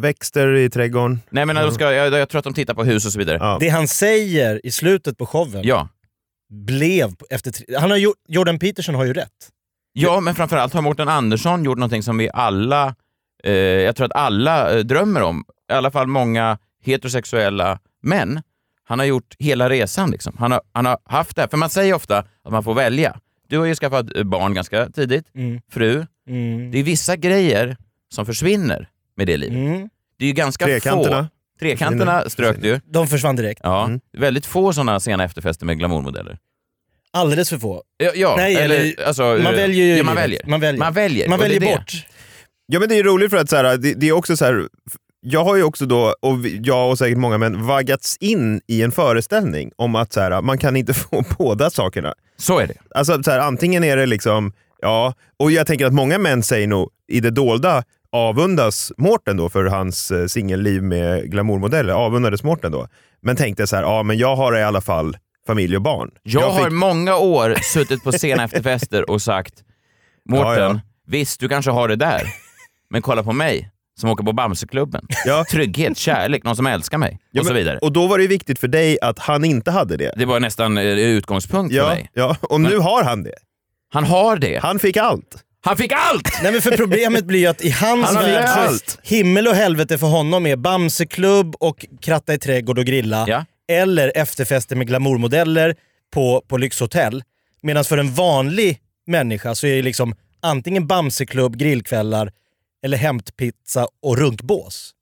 Speaker 2: Växter i trädgården.
Speaker 1: Nej, men de ska, jag, jag tror att de tittar på hus och så vidare.
Speaker 4: Det han säger i slutet på showen
Speaker 1: Ja.
Speaker 4: blev efter tre, han har, gjort- Jordan Peterson har ju rätt.
Speaker 1: Ja, men framförallt har Mårten Andersson gjort någonting som vi alla, eh, jag tror att alla eh, drömmer om. I alla fall många heterosexuella män. Han har gjort hela resan. Liksom. Han, har, han har haft det här. För man säger ofta att man får välja. Du har ju skaffat eh, barn ganska tidigt,
Speaker 4: Mm.
Speaker 1: fru.
Speaker 4: Mm.
Speaker 1: Det är vissa grejer som försvinner med det livet. Det är ju ganska
Speaker 2: Trekanterna.
Speaker 1: få... Trekanterna
Speaker 2: Försvinner.
Speaker 1: strök du.
Speaker 4: De försvann direkt.
Speaker 1: Ja, väldigt få sådana sena efterfester med glamourmodeller.
Speaker 4: Alldeles för få.
Speaker 1: Ja, ja,
Speaker 4: Nej,
Speaker 1: eller,
Speaker 4: eller-
Speaker 1: alltså,
Speaker 4: man
Speaker 1: eh,
Speaker 4: väljer ju
Speaker 1: ja, man
Speaker 4: livet.
Speaker 1: väljer.
Speaker 4: Man väljer.
Speaker 1: Man väljer,
Speaker 4: Man
Speaker 1: och det är
Speaker 4: väljer
Speaker 1: det.
Speaker 4: bort.
Speaker 2: Ja men det är ju roligt för att så här, det, det är också så här, jag har ju också då, och vi- jag och säkert många män, vaggats in i en föreställning om att så här, man kan inte få båda sakerna.
Speaker 1: Så är det.
Speaker 2: Alltså så här, antingen är det liksom, ja, och jag tänker att många män säger nog i det dolda avundas Mårten då för hans eh, singelliv med glamourmodeller, avundades Mårten då. Men tänkte så här, ja men jag har i alla fall familj och barn.
Speaker 1: Jag,
Speaker 2: fick-
Speaker 1: har många år suttit på sena efterfester och sagt Mårten,
Speaker 2: Ja, ja.
Speaker 1: visst du kanske har det där, men kolla på mig som åker på Bamseklubben. Trygghet, kärlek, någon som älskar mig
Speaker 2: Ja,
Speaker 1: och så
Speaker 2: men-
Speaker 1: vidare.
Speaker 2: Och då var det ju viktigt för dig att han inte hade det.
Speaker 1: Det var nästan eh, utgångspunkt för
Speaker 2: Ja,
Speaker 1: mig.
Speaker 2: ja, och nu har han det.
Speaker 1: Han har det.
Speaker 2: Han fick allt.
Speaker 1: Han fick allt!
Speaker 4: Nej men för problemet blir ju att i hans
Speaker 2: Han har
Speaker 4: värld,
Speaker 2: löst.
Speaker 4: allt. himmel och helvete för honom är Bamseklubb och kratta i trädgård och grilla. Eller efterfester med glamourmodeller på, på lyxhotell. Medan för en vanlig människa så är det liksom antingen Bamseklubb, grillkvällar eller hämtpizza och runkbås.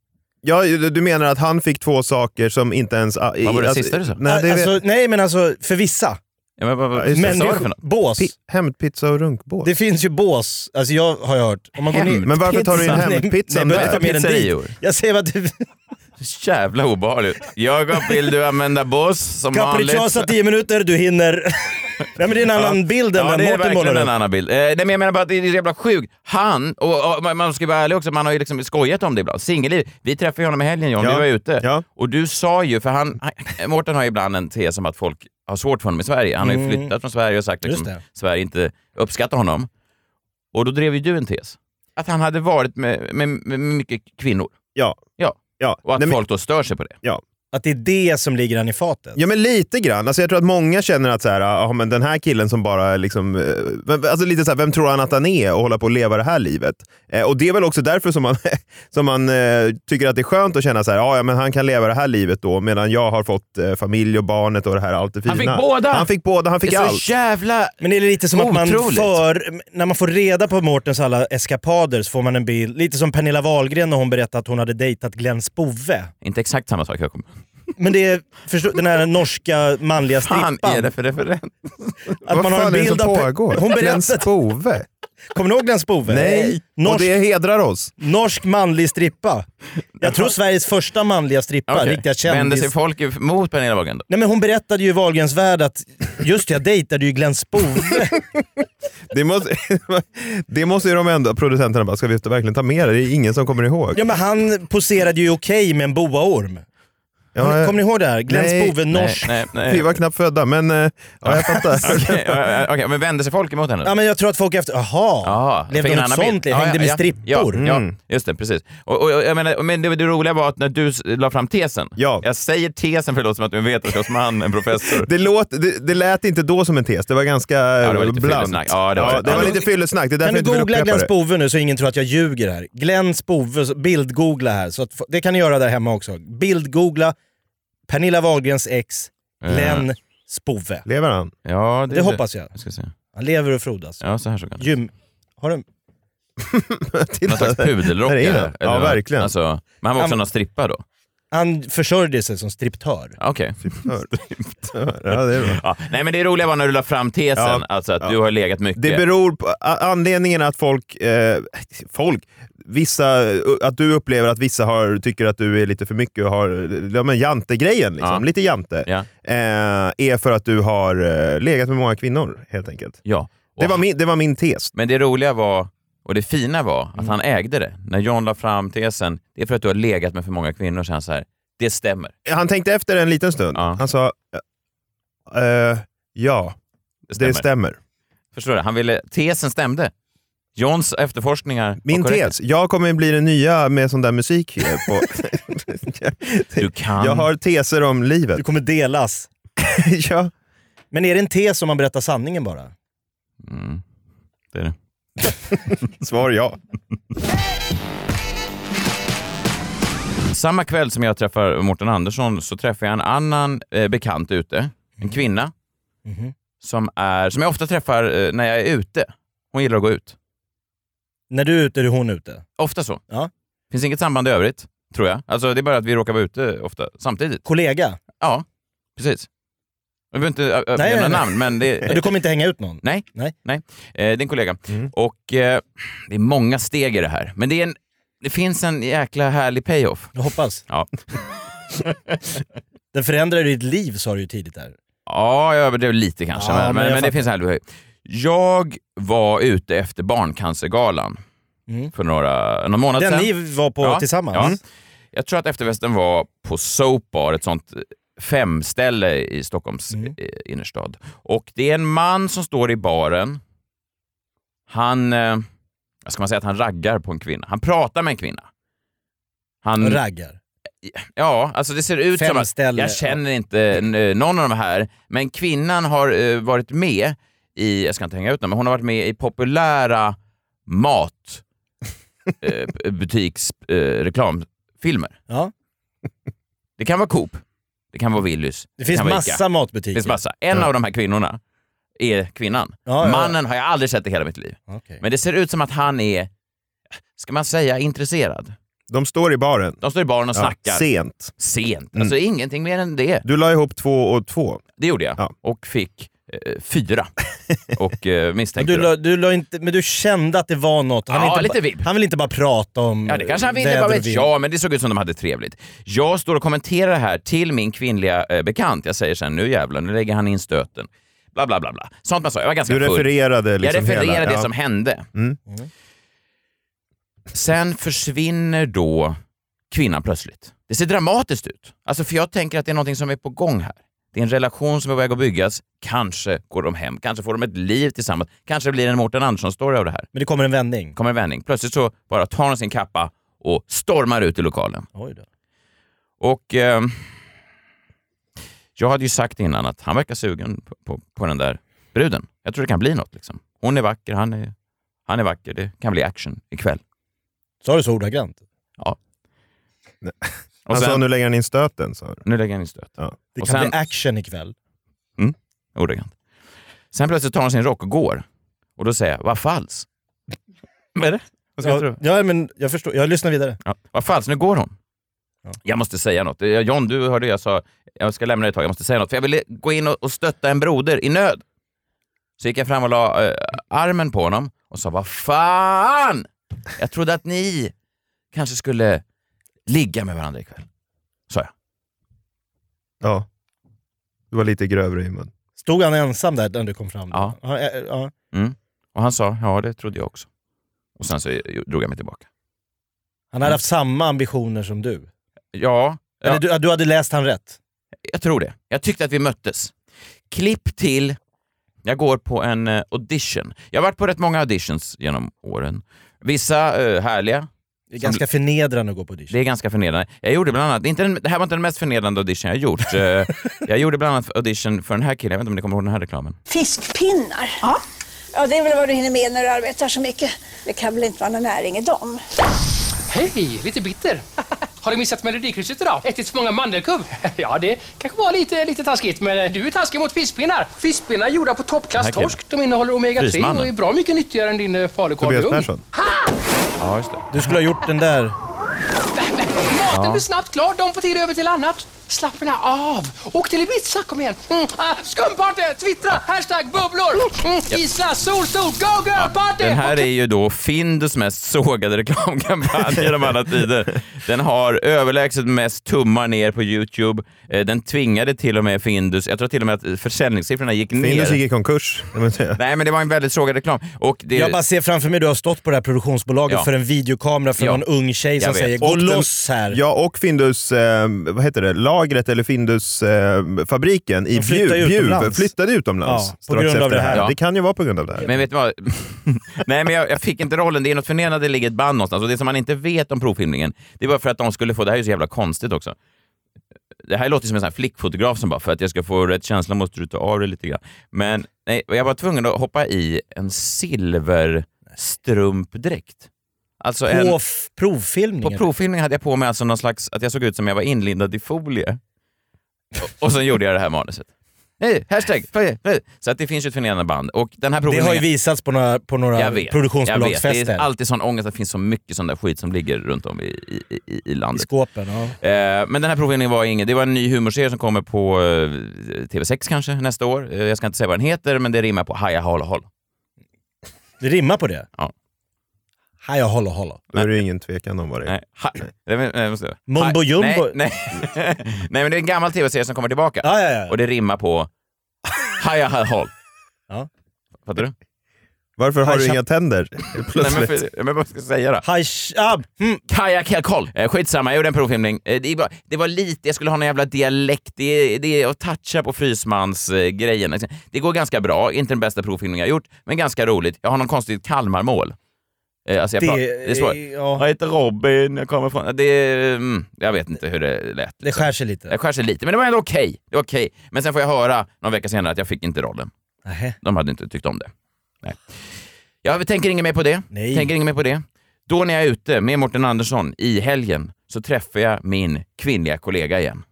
Speaker 2: Ja, du menar att han fick två saker som inte ens... Vad
Speaker 1: var det sista du sa?
Speaker 2: Nej, det
Speaker 4: alltså, nej men alltså för vissa.
Speaker 1: Ja, men, vad, vad, vad
Speaker 4: Men
Speaker 1: sa
Speaker 4: det-
Speaker 1: du för något?
Speaker 4: bås.
Speaker 2: Hämtpizza och runkbås.
Speaker 4: Det finns ju bås, alltså jag har jag hört. Om man går ner-
Speaker 2: Men varför tar du in
Speaker 4: Pizza. Nej,
Speaker 2: hämtpizzan
Speaker 4: nej,
Speaker 2: där?
Speaker 4: ta med den dit.
Speaker 1: Pizzerior.
Speaker 4: Jag säger vad du...
Speaker 1: Jävla obehagligt. Jakob, vill du använda bås som vanligt?
Speaker 4: Capricciosa 10 minuter, du hinner. Nej men det är en annan bild än
Speaker 1: ja,
Speaker 4: den
Speaker 1: det är
Speaker 4: Mårten
Speaker 1: verkligen
Speaker 4: målar
Speaker 1: en
Speaker 4: upp.
Speaker 1: annan bild. Eh, nej, men jag menar bara att det är så jävla sjukt. Han, och, och man- man ska vara ärlig också, man har ju liksom skojat om det ibland. Singelliv. Vi träffade ju honom i helgen John,
Speaker 2: Ja.
Speaker 1: vi var ute.
Speaker 2: Ja.
Speaker 1: Och du sa ju, för han, han- Mårten har ju ibland en tes om att folk har svårt för honom i Sverige. Han har ju
Speaker 4: Mm.
Speaker 1: flyttat från Sverige och sagt liksom,
Speaker 4: Just det.
Speaker 1: Sverige inte uppskattar honom. Och då drev ju du en tes. Att han hade varit med, med, med mycket kvinnor.
Speaker 2: Ja.
Speaker 1: Ja.
Speaker 2: Ja.
Speaker 1: Och att
Speaker 2: Nej, men-
Speaker 1: folk då stör sig på det.
Speaker 2: ja.
Speaker 4: Att det är det som ligger han i fatet.
Speaker 2: Ja, men lite grann. Alltså, jag tror att många känner att så här, ah, men den här killen som bara... Liksom, eh, vem- alltså, lite så här, vem tror han att han är och hålla på och leva det här livet? Eh, och Det är väl också därför som man, som man eh, tycker att det är skönt att känna så här, ah, ja, men han kan leva det här livet då medan jag har fått eh, familj och barnet och det här allt det fina.
Speaker 4: Han fick båda!
Speaker 2: Han fick båda, han fick
Speaker 4: Det är så
Speaker 2: allt.
Speaker 1: jävla
Speaker 4: Men det är lite som att man
Speaker 2: Otroligt.
Speaker 4: för, när man får reda på Mårtens alla eskapader så får man en bild, lite som Pernilla Wahlgren när hon berättade att hon hade dejtat Glenn Spove.
Speaker 1: Inte exakt samma sak, jag kommer.
Speaker 4: Men det är, förstå, den här norska manliga
Speaker 1: Fan
Speaker 4: strippan.
Speaker 1: är det för referens?
Speaker 4: Att man har en bild av... Hon berättade...
Speaker 2: Spove?
Speaker 4: Kommer ni ihåg Glenn Spove?
Speaker 2: Nej, och det hedrar oss.
Speaker 4: Norsk manlig strippa. Jag tror Sveriges första manliga strippa.
Speaker 1: Okej.
Speaker 4: Riktiga kändis.
Speaker 1: Vänder sig folk mot Pernilla Wahlgren då?
Speaker 4: Nej men hon berättade ju i Wahlgrens värld att just det, jag dejtade ju Glenn Spove.
Speaker 2: Det måste, det måste ju de ändå, producenterna bara, ska vi verkligen ta med det? Det är ingen som kommer ihåg.
Speaker 4: ja men han poserade ju okej med en boaorm. Kommer ni- kommer ni ihåg det här? Glenn Spove, norsk.
Speaker 1: Nej, nej, nej.
Speaker 2: Vi var knappt födda, men eh, ja, jag fattar.
Speaker 1: Okej, ja, ja, okej, men vänder sig folk emot henne? då?
Speaker 4: Ja men jag tror att folk efter, aha,
Speaker 1: fick
Speaker 4: levde
Speaker 1: en
Speaker 4: något
Speaker 1: annan
Speaker 4: sånt?
Speaker 1: bild.
Speaker 4: liv? Hängde
Speaker 1: Ja, mm.
Speaker 4: med
Speaker 1: ja,
Speaker 4: strippor? Mm.
Speaker 1: Ja, ja, just det. Precis. Och, och, jag menar, men det, det roliga var att när du s- la fram tesen.
Speaker 2: Ja.
Speaker 1: Jag säger tesen för det låter som att du är en vetenskapsman, en professor.
Speaker 2: Det, låt, det, det lät inte då som en tes, det var ganska ja,
Speaker 1: det var lite
Speaker 2: bland.
Speaker 1: fyllesnack. Ja, det var det.
Speaker 2: det var lite fyllesnack, det är därför
Speaker 4: Kan
Speaker 2: jag inte
Speaker 4: du
Speaker 2: vill
Speaker 4: googla
Speaker 2: upprepa
Speaker 4: Glenn
Speaker 2: det.
Speaker 4: Spove nu så ingen tror att jag ljuger här? Glenn Spove, så bildgoogla här. Så att, f- det kan ni göra där hemma också. Bildgoogla Pernilla Wahlgrens ex, Glenn
Speaker 1: Ja.
Speaker 4: Spove.
Speaker 2: Lever han?
Speaker 1: Eh, Ja,
Speaker 4: Det hoppas jag.
Speaker 1: ska se.
Speaker 4: Han lever och frodas.
Speaker 1: Ja, så här såg han ut.
Speaker 4: Gym... Har du...
Speaker 1: Någon slags pudelrockare.
Speaker 2: Där är den. Ja,
Speaker 1: eller vad?
Speaker 2: verkligen.
Speaker 1: Alltså, men han var också
Speaker 4: Han-
Speaker 1: någon strippa då? Ah,
Speaker 4: Han försörjde sig som striptör.
Speaker 1: Okej.
Speaker 2: Ja, det är bra.
Speaker 1: Ja, nej, men det roliga var när du la fram tesen,
Speaker 2: Ja.
Speaker 1: alltså att
Speaker 2: Ja.
Speaker 1: du har legat mycket.
Speaker 2: Det beror på, a- anledningen att folk, eh, folk vissa, att du upplever att vissa har, tycker att du är lite för mycket och har ja, men jantegrejen, liksom,
Speaker 1: Ja.
Speaker 2: lite jante,
Speaker 1: Ja.
Speaker 2: eh, är för att du har eh, legat med många kvinnor helt enkelt.
Speaker 1: Ja.
Speaker 2: Det var, min, det var min tes.
Speaker 1: Men det roliga var, och det fina var, att
Speaker 2: Mm.
Speaker 1: han ägde det. När John la fram tesen, det är för att du har legat med för många kvinnor, så han så här, det stämmer.
Speaker 2: Han tänkte efter en liten stund. Han sa, eh, eh, ja, det stämmer.
Speaker 1: stämmer. Förstår du? Han ville, tesen stämde. Johns efterforskningar
Speaker 2: Min
Speaker 1: var korrekta.
Speaker 2: tes, jag kommer bli den nya med sån där musik. eh, På.
Speaker 1: Du kan.
Speaker 2: jag har teser om livet.
Speaker 4: Du kommer delas.
Speaker 2: ja.
Speaker 4: Men är det en tes om man berättar sanningen bara?
Speaker 1: Mm. Det är det.
Speaker 2: Svar ja.
Speaker 1: Samma kväll som jag träffar Mårten Andersson så träffar jag en annan eh, bekant ute, en kvinna,
Speaker 2: Mhm.
Speaker 1: som, är, som jag ofta träffar eh, när jag är ute. Hon gillar att gå ut.
Speaker 4: När du är ute är hon ute.
Speaker 1: Ofta så.
Speaker 4: Ja.
Speaker 1: Finns inget samband i övrigt, tror jag. Alltså, det är bara att vi råkar vara ute ofta samtidigt.
Speaker 4: Kollega?
Speaker 1: Ja, precis. Jag behöver inte ö- ö-
Speaker 4: Nej,
Speaker 1: nämna
Speaker 4: nej, nej.
Speaker 1: namn, men det...
Speaker 4: Du kommer inte hänga ut någon?
Speaker 1: Nej.
Speaker 4: Nej. Mm.
Speaker 1: Nej. Eh, din kollega. Och eh, det är många steg i det här. Men det, är en, det finns en jäkla härlig payoff.
Speaker 4: Jag hoppas.
Speaker 1: Ja.
Speaker 4: Den förändrar ditt liv sa du ju tidigt där.
Speaker 1: ja, jag överdrev lite kanske.
Speaker 4: Ja,
Speaker 1: men
Speaker 4: men
Speaker 1: men,
Speaker 4: jag
Speaker 1: men det
Speaker 4: fattar.
Speaker 1: finns en härlig payoff. Jag var ute efter Barncancergalan
Speaker 4: Mm.
Speaker 1: för några, någon månad
Speaker 4: Den
Speaker 1: sedan.
Speaker 4: ni var på tillsammans.
Speaker 1: ja. Mm. Jag tror att efterfesten var på Soap Bar, ett sånt eh, femställe i Stockholms eh, innerstad. Och det är en man som står i baren. Han, eh, vad ska man säga att han raggar på en kvinna? Han pratar med en kvinna. Han,
Speaker 4: Raggar.
Speaker 1: Ja, alltså det ser ut som att
Speaker 4: Femställe.
Speaker 1: jag känner inte eh, någon av de här, men kvinnan har eh, varit med i, jag ska inte hänga ut någon, men hon har varit med i populära eh, matbutiksreklamfilmer.
Speaker 4: Ja.
Speaker 1: det kan vara Coop, det kan vara Willys.
Speaker 4: Det finns
Speaker 1: kan vara
Speaker 4: massa matbutiker.
Speaker 1: Det finns massa. En
Speaker 4: Ja.
Speaker 1: av de här kvinnorna är kvinnan.
Speaker 4: Ja, ja.
Speaker 1: Mannen har jag aldrig sett i hela mitt liv.
Speaker 4: Okej.
Speaker 1: Men det ser ut som att han är, ska man säga intresserad?
Speaker 2: De står i baren.
Speaker 1: De står i baren och
Speaker 2: Ja,
Speaker 1: snackar.
Speaker 2: sent.
Speaker 4: Mm.
Speaker 1: Sent. Alltså ingenting mer än det.
Speaker 2: Du la ihop två och två.
Speaker 1: Det gjorde jag. Och fick eh, fyra. och eh,
Speaker 4: Men
Speaker 1: misstänkte
Speaker 4: du,
Speaker 1: då.
Speaker 4: la, du la inte, men du kände att det var något. Han,
Speaker 1: Ja,
Speaker 4: inte
Speaker 1: lite
Speaker 4: ba-
Speaker 1: vibb.
Speaker 4: han vill inte bara prata om
Speaker 1: Ja, det kanske han ville,
Speaker 4: väder
Speaker 1: vad
Speaker 4: och
Speaker 1: vet
Speaker 4: vind.
Speaker 1: jag, men det såg ut som de hade trevligt. Jag står och kommenterar det här till min kvinnliga eh, bekant. Jag säger sen, nu jävlar, nu lägger han in stöten. Bla, bla, bla, bla. Sånt man sa. Jag var ganska
Speaker 2: Du
Speaker 1: full.
Speaker 2: refererade liksom
Speaker 1: Jag refererade
Speaker 2: hela,
Speaker 1: det
Speaker 2: ja. Mm.
Speaker 1: som hände. Mm. Sen försvinner då kvinnan plötsligt. Det ser dramatiskt ut. Alltså för jag tänker att det är någonting som är på gång här. Det är en relation som är på väg att byggas. Kanske går de hem, kanske får de ett liv tillsammans. Kanske blir det en Mårten Andersson-story av det här.
Speaker 4: Men det kommer en vändning.
Speaker 1: kommer en vändning. Plötsligt så bara tar hon sin kappa och stormar ut i lokalen.
Speaker 4: Oj då.
Speaker 1: Och eh, Jag hade ju sagt innan att han verkar sugen på, på, på den där bruden. Jag tror det kan bli något. Liksom. Hon är vacker, han är, han är vacker. Det kan bli action ikväll.
Speaker 4: Sa du så ordagrant?
Speaker 1: Ja.
Speaker 2: Han sa nu lägger han in stöten. Sa.
Speaker 1: Nu lägger han in stöten.
Speaker 4: Det
Speaker 1: Och
Speaker 4: kan
Speaker 1: sen-
Speaker 4: bli action ikväll.
Speaker 1: Mm, ordagrant. Sen plötsligt tar han sin rock och går. Och då säger jag, vad falskt. Vad är det? Vad ska jag
Speaker 4: Ja,
Speaker 1: tro?
Speaker 4: ja, men jag förstår. Jag lyssnar vidare.
Speaker 1: Ja, vad falskt, nu går hon. Jag måste säga något. Eh, John, du hörde jag sa, jag ska lämna dig ett tag, jag måste säga något. För jag ville gå in och, och stötta en broder i nöd. Så gick jag fram och la eh, armen på honom och sa, vad fan! Jag trodde att ni kanske skulle ligga med varandra ikväll. Sa jag.
Speaker 2: Ja. Du var lite grövre i mun.
Speaker 4: Stod han ensam där när du kom fram?
Speaker 1: Ja.
Speaker 4: Ja, ja, ja.
Speaker 1: Mm. Och han sa, ja det trodde jag också. Och sen så eh, drog jag mig tillbaka.
Speaker 4: Han hade haft samma ambitioner som du.
Speaker 1: Ja,
Speaker 4: Eller
Speaker 1: Mm. ja.
Speaker 4: du, du hade läst han rätt?
Speaker 1: Jag tror det. Jag tyckte att vi möttes. Klipp till... Jag går på en eh, audition. Jag har varit på rätt många auditions genom åren. Vissa eh, härliga.
Speaker 4: Det är ganska förnedrande att gå på audition.
Speaker 1: Det är ganska förnedrande. Jag gjorde bland annat, inte den, det här var inte den mest förnedrande audition jag gjort. Eh, jag gjorde bland annat audition för den här killen, jag vet inte om ni kommer ihåg den här reklamen?
Speaker 7: Fiskpinnar? Ja. Ja, det är väl vad du hinner med när du arbetar så mycket. Det kan väl inte vara någon näring i dem?
Speaker 8: Hej! Lite bitter. Har du missat Melodikrysset idag? Ätit för många mandelkubb? Ja, det kanske var lite, lite taskigt, men du är taskig mot fiskpinnar. Fiskpinnar gjorda på toppklass
Speaker 1: Tack, Emma.
Speaker 8: torsk. De innehåller omega-3
Speaker 1: Frysmannen.
Speaker 8: och är bra mycket nyttigare än din eh, falukorv i
Speaker 1: Tobias
Speaker 8: ugn.
Speaker 1: Persson. Ja, just det.
Speaker 4: Du skulle ha gjort den där...
Speaker 8: Maten
Speaker 1: Ja.
Speaker 8: blir snabbt klar, de får tid över till annat. Slappna av! Åk till Ibiza, kom igen! Mm, ah, skumparty! Twittra! Hashtag bubblor! Mm, Isla, sol, sol, go girl party!
Speaker 1: Den här är ju då Findus mest sågade reklamkampanj genom alla tider. Den har överlägset mest tummar ner på Youtube. Eh, Den tvingade till och med Findus, jag tror till och med att eh, försäljningssiffrorna gick ner.
Speaker 2: Findus gick i konkurs. kan man säga.
Speaker 1: Nej, men det var en väldigt sågad reklam. Och det...
Speaker 4: Jag bara ser framför mig du har stått på det här produktionsbolaget
Speaker 1: Ja.
Speaker 4: för en videokamera för
Speaker 1: Ja.
Speaker 4: någon ung tjej som
Speaker 1: Jag vet.
Speaker 4: säger gå
Speaker 1: Och den-
Speaker 4: loss här.
Speaker 2: Ja, och Findus, eh, vad heter det, lagret eller Findus-fabriken i
Speaker 4: De flyttade
Speaker 2: Bjuv, Bjuv
Speaker 4: utomlands.
Speaker 2: flyttade utomlands.
Speaker 4: Ja, på
Speaker 2: strax
Speaker 4: grund av
Speaker 2: efter
Speaker 4: det här.
Speaker 1: Ja.
Speaker 2: Det kan ju vara på grund av det här.
Speaker 1: Men vet du vad? Nej, men jag, jag fick inte rollen. Det är något förnedrande, det ligger ett band någonstans. Och det som man inte vet om provfilmningen, det var för att de skulle få... Det här är ju så jävla konstigt också. Det här låter som en sån här flickfotograf som bara, för att jag ska få rätt känsla måste du ta av dig lite grann. Men nej, jag var tvungen att hoppa i en silverstrumpdräkt. Alltså
Speaker 4: På
Speaker 1: en,
Speaker 4: f- provfilmningen?
Speaker 1: på provfilmningen hade jag på mig alltså någon slags, att jag såg ut som jag var inlindad i folie. Och, och sen gjorde jag det här manuset. Hej, hashtag, hej, hej. Så att det finns ju ett förnedrande band. Och den här
Speaker 4: Det har ju
Speaker 1: provfilmningen-
Speaker 4: visats på några, på några
Speaker 1: jag vet, Jag vet. Det är
Speaker 4: produktionsbolagsfester.
Speaker 1: alltid sån ångest att det finns så mycket sån där skit som ligger runt om i, i, i, i
Speaker 4: I
Speaker 1: landet.
Speaker 4: skåpen. Ja.
Speaker 1: Eh, men den här provfilmningen var ingen. Det var en ny humorserie som kommer på eh, TV6 kanske nästa år. Eh, jag ska inte säga vad den heter, men det rimmar på Haja Halo Halo.
Speaker 4: Det rimmar på det?
Speaker 1: Ja.
Speaker 4: Haja Holo Holo.
Speaker 2: Då är det ju ingen tvekan om vad det är.
Speaker 1: Nej, ha, nej, men- nej, måste jag-
Speaker 4: Mumbo
Speaker 1: Haj-
Speaker 4: jumbo.
Speaker 1: Nej, nej. nej, men det är en gammal TV-serie som kommer tillbaka.
Speaker 4: Ja, ja, ja.
Speaker 1: Och det rimmar på Haja Halo Halo.
Speaker 4: Ja.
Speaker 1: Fattar du?
Speaker 2: Varför har du
Speaker 1: Haj-
Speaker 2: inga tänder? Plötsligt.
Speaker 1: Nej, men, för, men vad ska jag säga då?
Speaker 4: Haj... Mm.
Speaker 1: Kaja Kalkoll. Eh, skitsamma, jag gjorde en provfilmning. Eh, det, är bara- det var lite, jag skulle ha någon jävla dialekt. Det, är- det är att toucha på Frysmans-grejen. liksom. det går ganska bra, inte den bästa provfilmning jag gjort, men ganska roligt. Jag har någon konstigt Kalmarmål. Eh, alltså jag
Speaker 4: Det-
Speaker 1: det, det är svårt.
Speaker 4: ja.
Speaker 1: Jag heter Robin, jag kommer från... Det, är, mm, jag vet inte hur det lät.
Speaker 4: Det skär sig lite.
Speaker 1: Jag skär sig lite, men det var ändå okej. Det var okej. Men sen får jag höra någon vecka senare att jag fick inte rollen.
Speaker 4: Nähä.
Speaker 1: De hade inte tyckt om det. Nej. Jag tänker inget mer på det. Tänker inget mer på det. Då när jag är ute med Morten Andersson i helgen så träffar jag min kvinnliga kollega igen.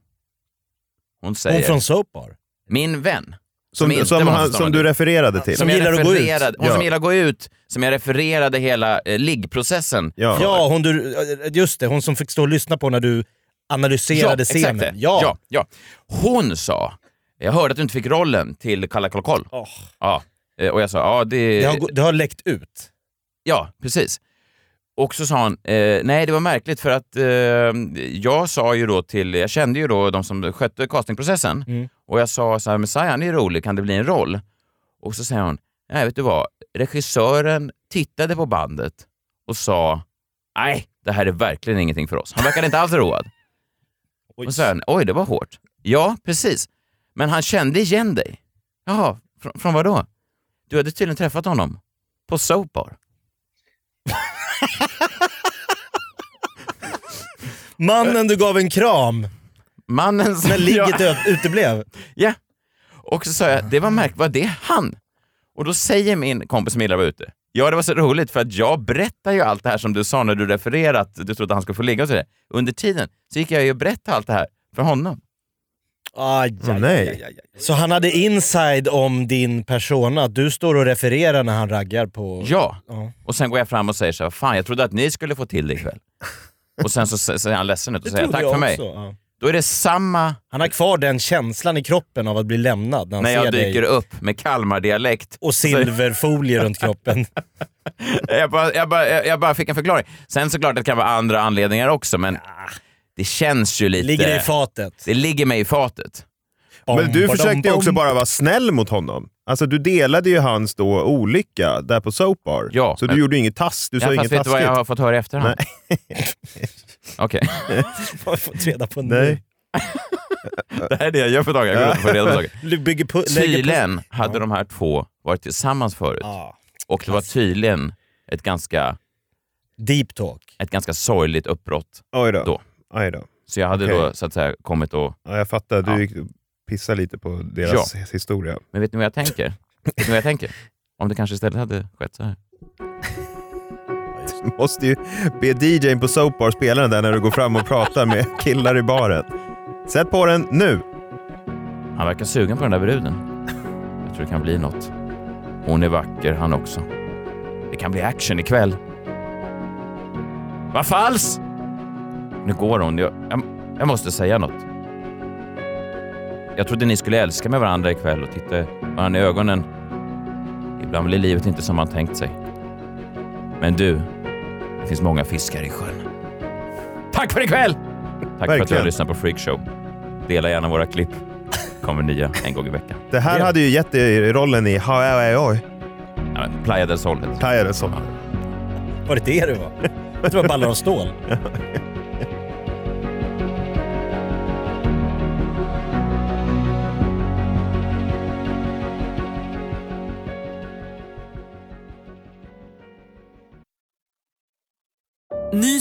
Speaker 1: Hon säger...
Speaker 4: Hon från Soap Bar.
Speaker 1: Min vän.
Speaker 2: Som,
Speaker 1: inte
Speaker 2: som,
Speaker 1: var
Speaker 2: han,
Speaker 1: hos
Speaker 2: som
Speaker 1: honom.
Speaker 2: du refererade till.
Speaker 1: Som jag refererade- Hon
Speaker 2: Ja.
Speaker 1: som gillar att gå ut, som jag refererade hela eh, liggprocessen
Speaker 2: Ja,
Speaker 4: Ja, hon du, just det. Hon som fick stå och lyssna på när du analyserade
Speaker 1: ja,
Speaker 4: scenen.
Speaker 1: Exakt det. Ja. Ja, Hon sa, jag hörde att du inte fick rollen till Kalla koll koll. Ja. Eh, Och jag sa, ja det...
Speaker 4: Det, har, gå- det har läckt ut.
Speaker 1: Ja, precis. Och så sa han, eh, nej det var märkligt för att eh, jag sa ju då till, jag kände ju då de som skötte castingprocessen
Speaker 9: Mm.
Speaker 1: och jag sa så här, Messiah han är rolig, kan det bli en roll? Och så säger hon, nej vet du vad, regissören tittade på bandet och sa, nej det här är verkligen ingenting för oss. Han verkade inte alls road. Och så sa han, oj det var hårt. Ja, precis. Men han kände igen dig. Jaha, från, från vad då? Du hade tydligen träffat honom på Soap Bar.
Speaker 4: Mannen du gav en kram.
Speaker 1: Mannen som
Speaker 4: När ligget
Speaker 1: jag...
Speaker 4: uteblev?
Speaker 1: Ja. Och så sa jag, det var märkligt, var det han? Och då säger min kompis som illa var ute, ja det var så roligt för att jag berättar ju allt det här som du sa när du refererade att du trodde att han skulle få ligga och sådär. Under tiden så gick jag ju och berättade allt det här för honom.
Speaker 4: Aj, aj,
Speaker 1: Mm.
Speaker 4: nej. Aj, aj, aj. Så han hade inside om din persona, att du står och refererar när han raggar på...
Speaker 1: Ja. Och sen går jag fram och säger så här, fan jag trodde att ni skulle få till det ikväll. och sen så ser ser han ledsen ut och
Speaker 4: Det
Speaker 1: säger
Speaker 4: trodde
Speaker 1: tack
Speaker 4: jag
Speaker 1: för mig.
Speaker 4: också, ja.
Speaker 1: Då är det samma
Speaker 4: Han har kvar den känslan i kroppen av att bli lämnad när han
Speaker 1: när
Speaker 4: ser
Speaker 1: jag dyker
Speaker 4: dig.
Speaker 1: upp Alltså- med Kalmardialekt.
Speaker 4: Och silverfolie runt kroppen.
Speaker 1: jag, bara, jag, bara, jag jag bara fick en förklaring. Sen såklart det kan vara andra anledningar också, men det känns ju lite...
Speaker 2: Ligger det i fatet?
Speaker 1: Det ligger mig i fatet.
Speaker 2: Men du försökte ju också bara vara snäll mot honom. Alltså du delade ju hans då olycka där på Soap Bar.
Speaker 1: Ja,
Speaker 2: så du
Speaker 1: men-
Speaker 2: gjorde inget tass, du
Speaker 1: Ja,
Speaker 2: sa
Speaker 1: fast
Speaker 2: inget
Speaker 1: vet du vad jag har fått höra i efterhand?
Speaker 2: Nej.
Speaker 1: Okej.
Speaker 4: Vad har vi fått reda på nu?
Speaker 2: Nej.
Speaker 1: det här är det jag gör för dagar. Jag går ut och får reda på saker.
Speaker 4: Du bygger pu- lägger
Speaker 1: Tydligen
Speaker 4: pus-
Speaker 1: hade de här två varit tillsammans förut. och det var tydligen ett ganska...
Speaker 4: Deep talk.
Speaker 1: Ett ganska sorgligt uppbrott
Speaker 2: Oj då.
Speaker 1: då.
Speaker 2: Aj då.
Speaker 1: Så jag hade
Speaker 2: Okej.
Speaker 1: då så att säga kommit och...
Speaker 2: Ja, jag fattar, du gick pissade lite på deras
Speaker 1: Ja.
Speaker 2: historia.
Speaker 1: Men vet ni vad jag tänker? vet ni vad jag tänker? Om det kanske istället hade skett så här.
Speaker 2: Du måste ju be DJn på Soap Bar spela den där när du går fram och pratar med killar i baren. Sätt på den nu!
Speaker 1: Han verkar sugen på den där bruden. Jag tror det kan bli något. Hon är vacker han också. Det kan bli action ikväll. Vad fals! Nu går hon. Jag, jag, jag måste säga något. Jag trodde ni skulle älska med varandra ikväll och titta varandra i ögonen. Ibland blir livet inte som man tänkt sig. Men du, det finns många fiskar i sjön. Tack för ikväll! Tack för att du har
Speaker 2: Verkligen.
Speaker 1: lyssnat på Freak Show. Dela gärna våra klipp. Kommer nya en gång i veckan.
Speaker 2: Det här hade ju gett dig rollen i Hawaii.
Speaker 1: Ja, men Playa del Sol. heter det.
Speaker 2: Playa del Sol.
Speaker 4: Var det det du var? Jag tror det var ballar av stål.
Speaker 10: Ny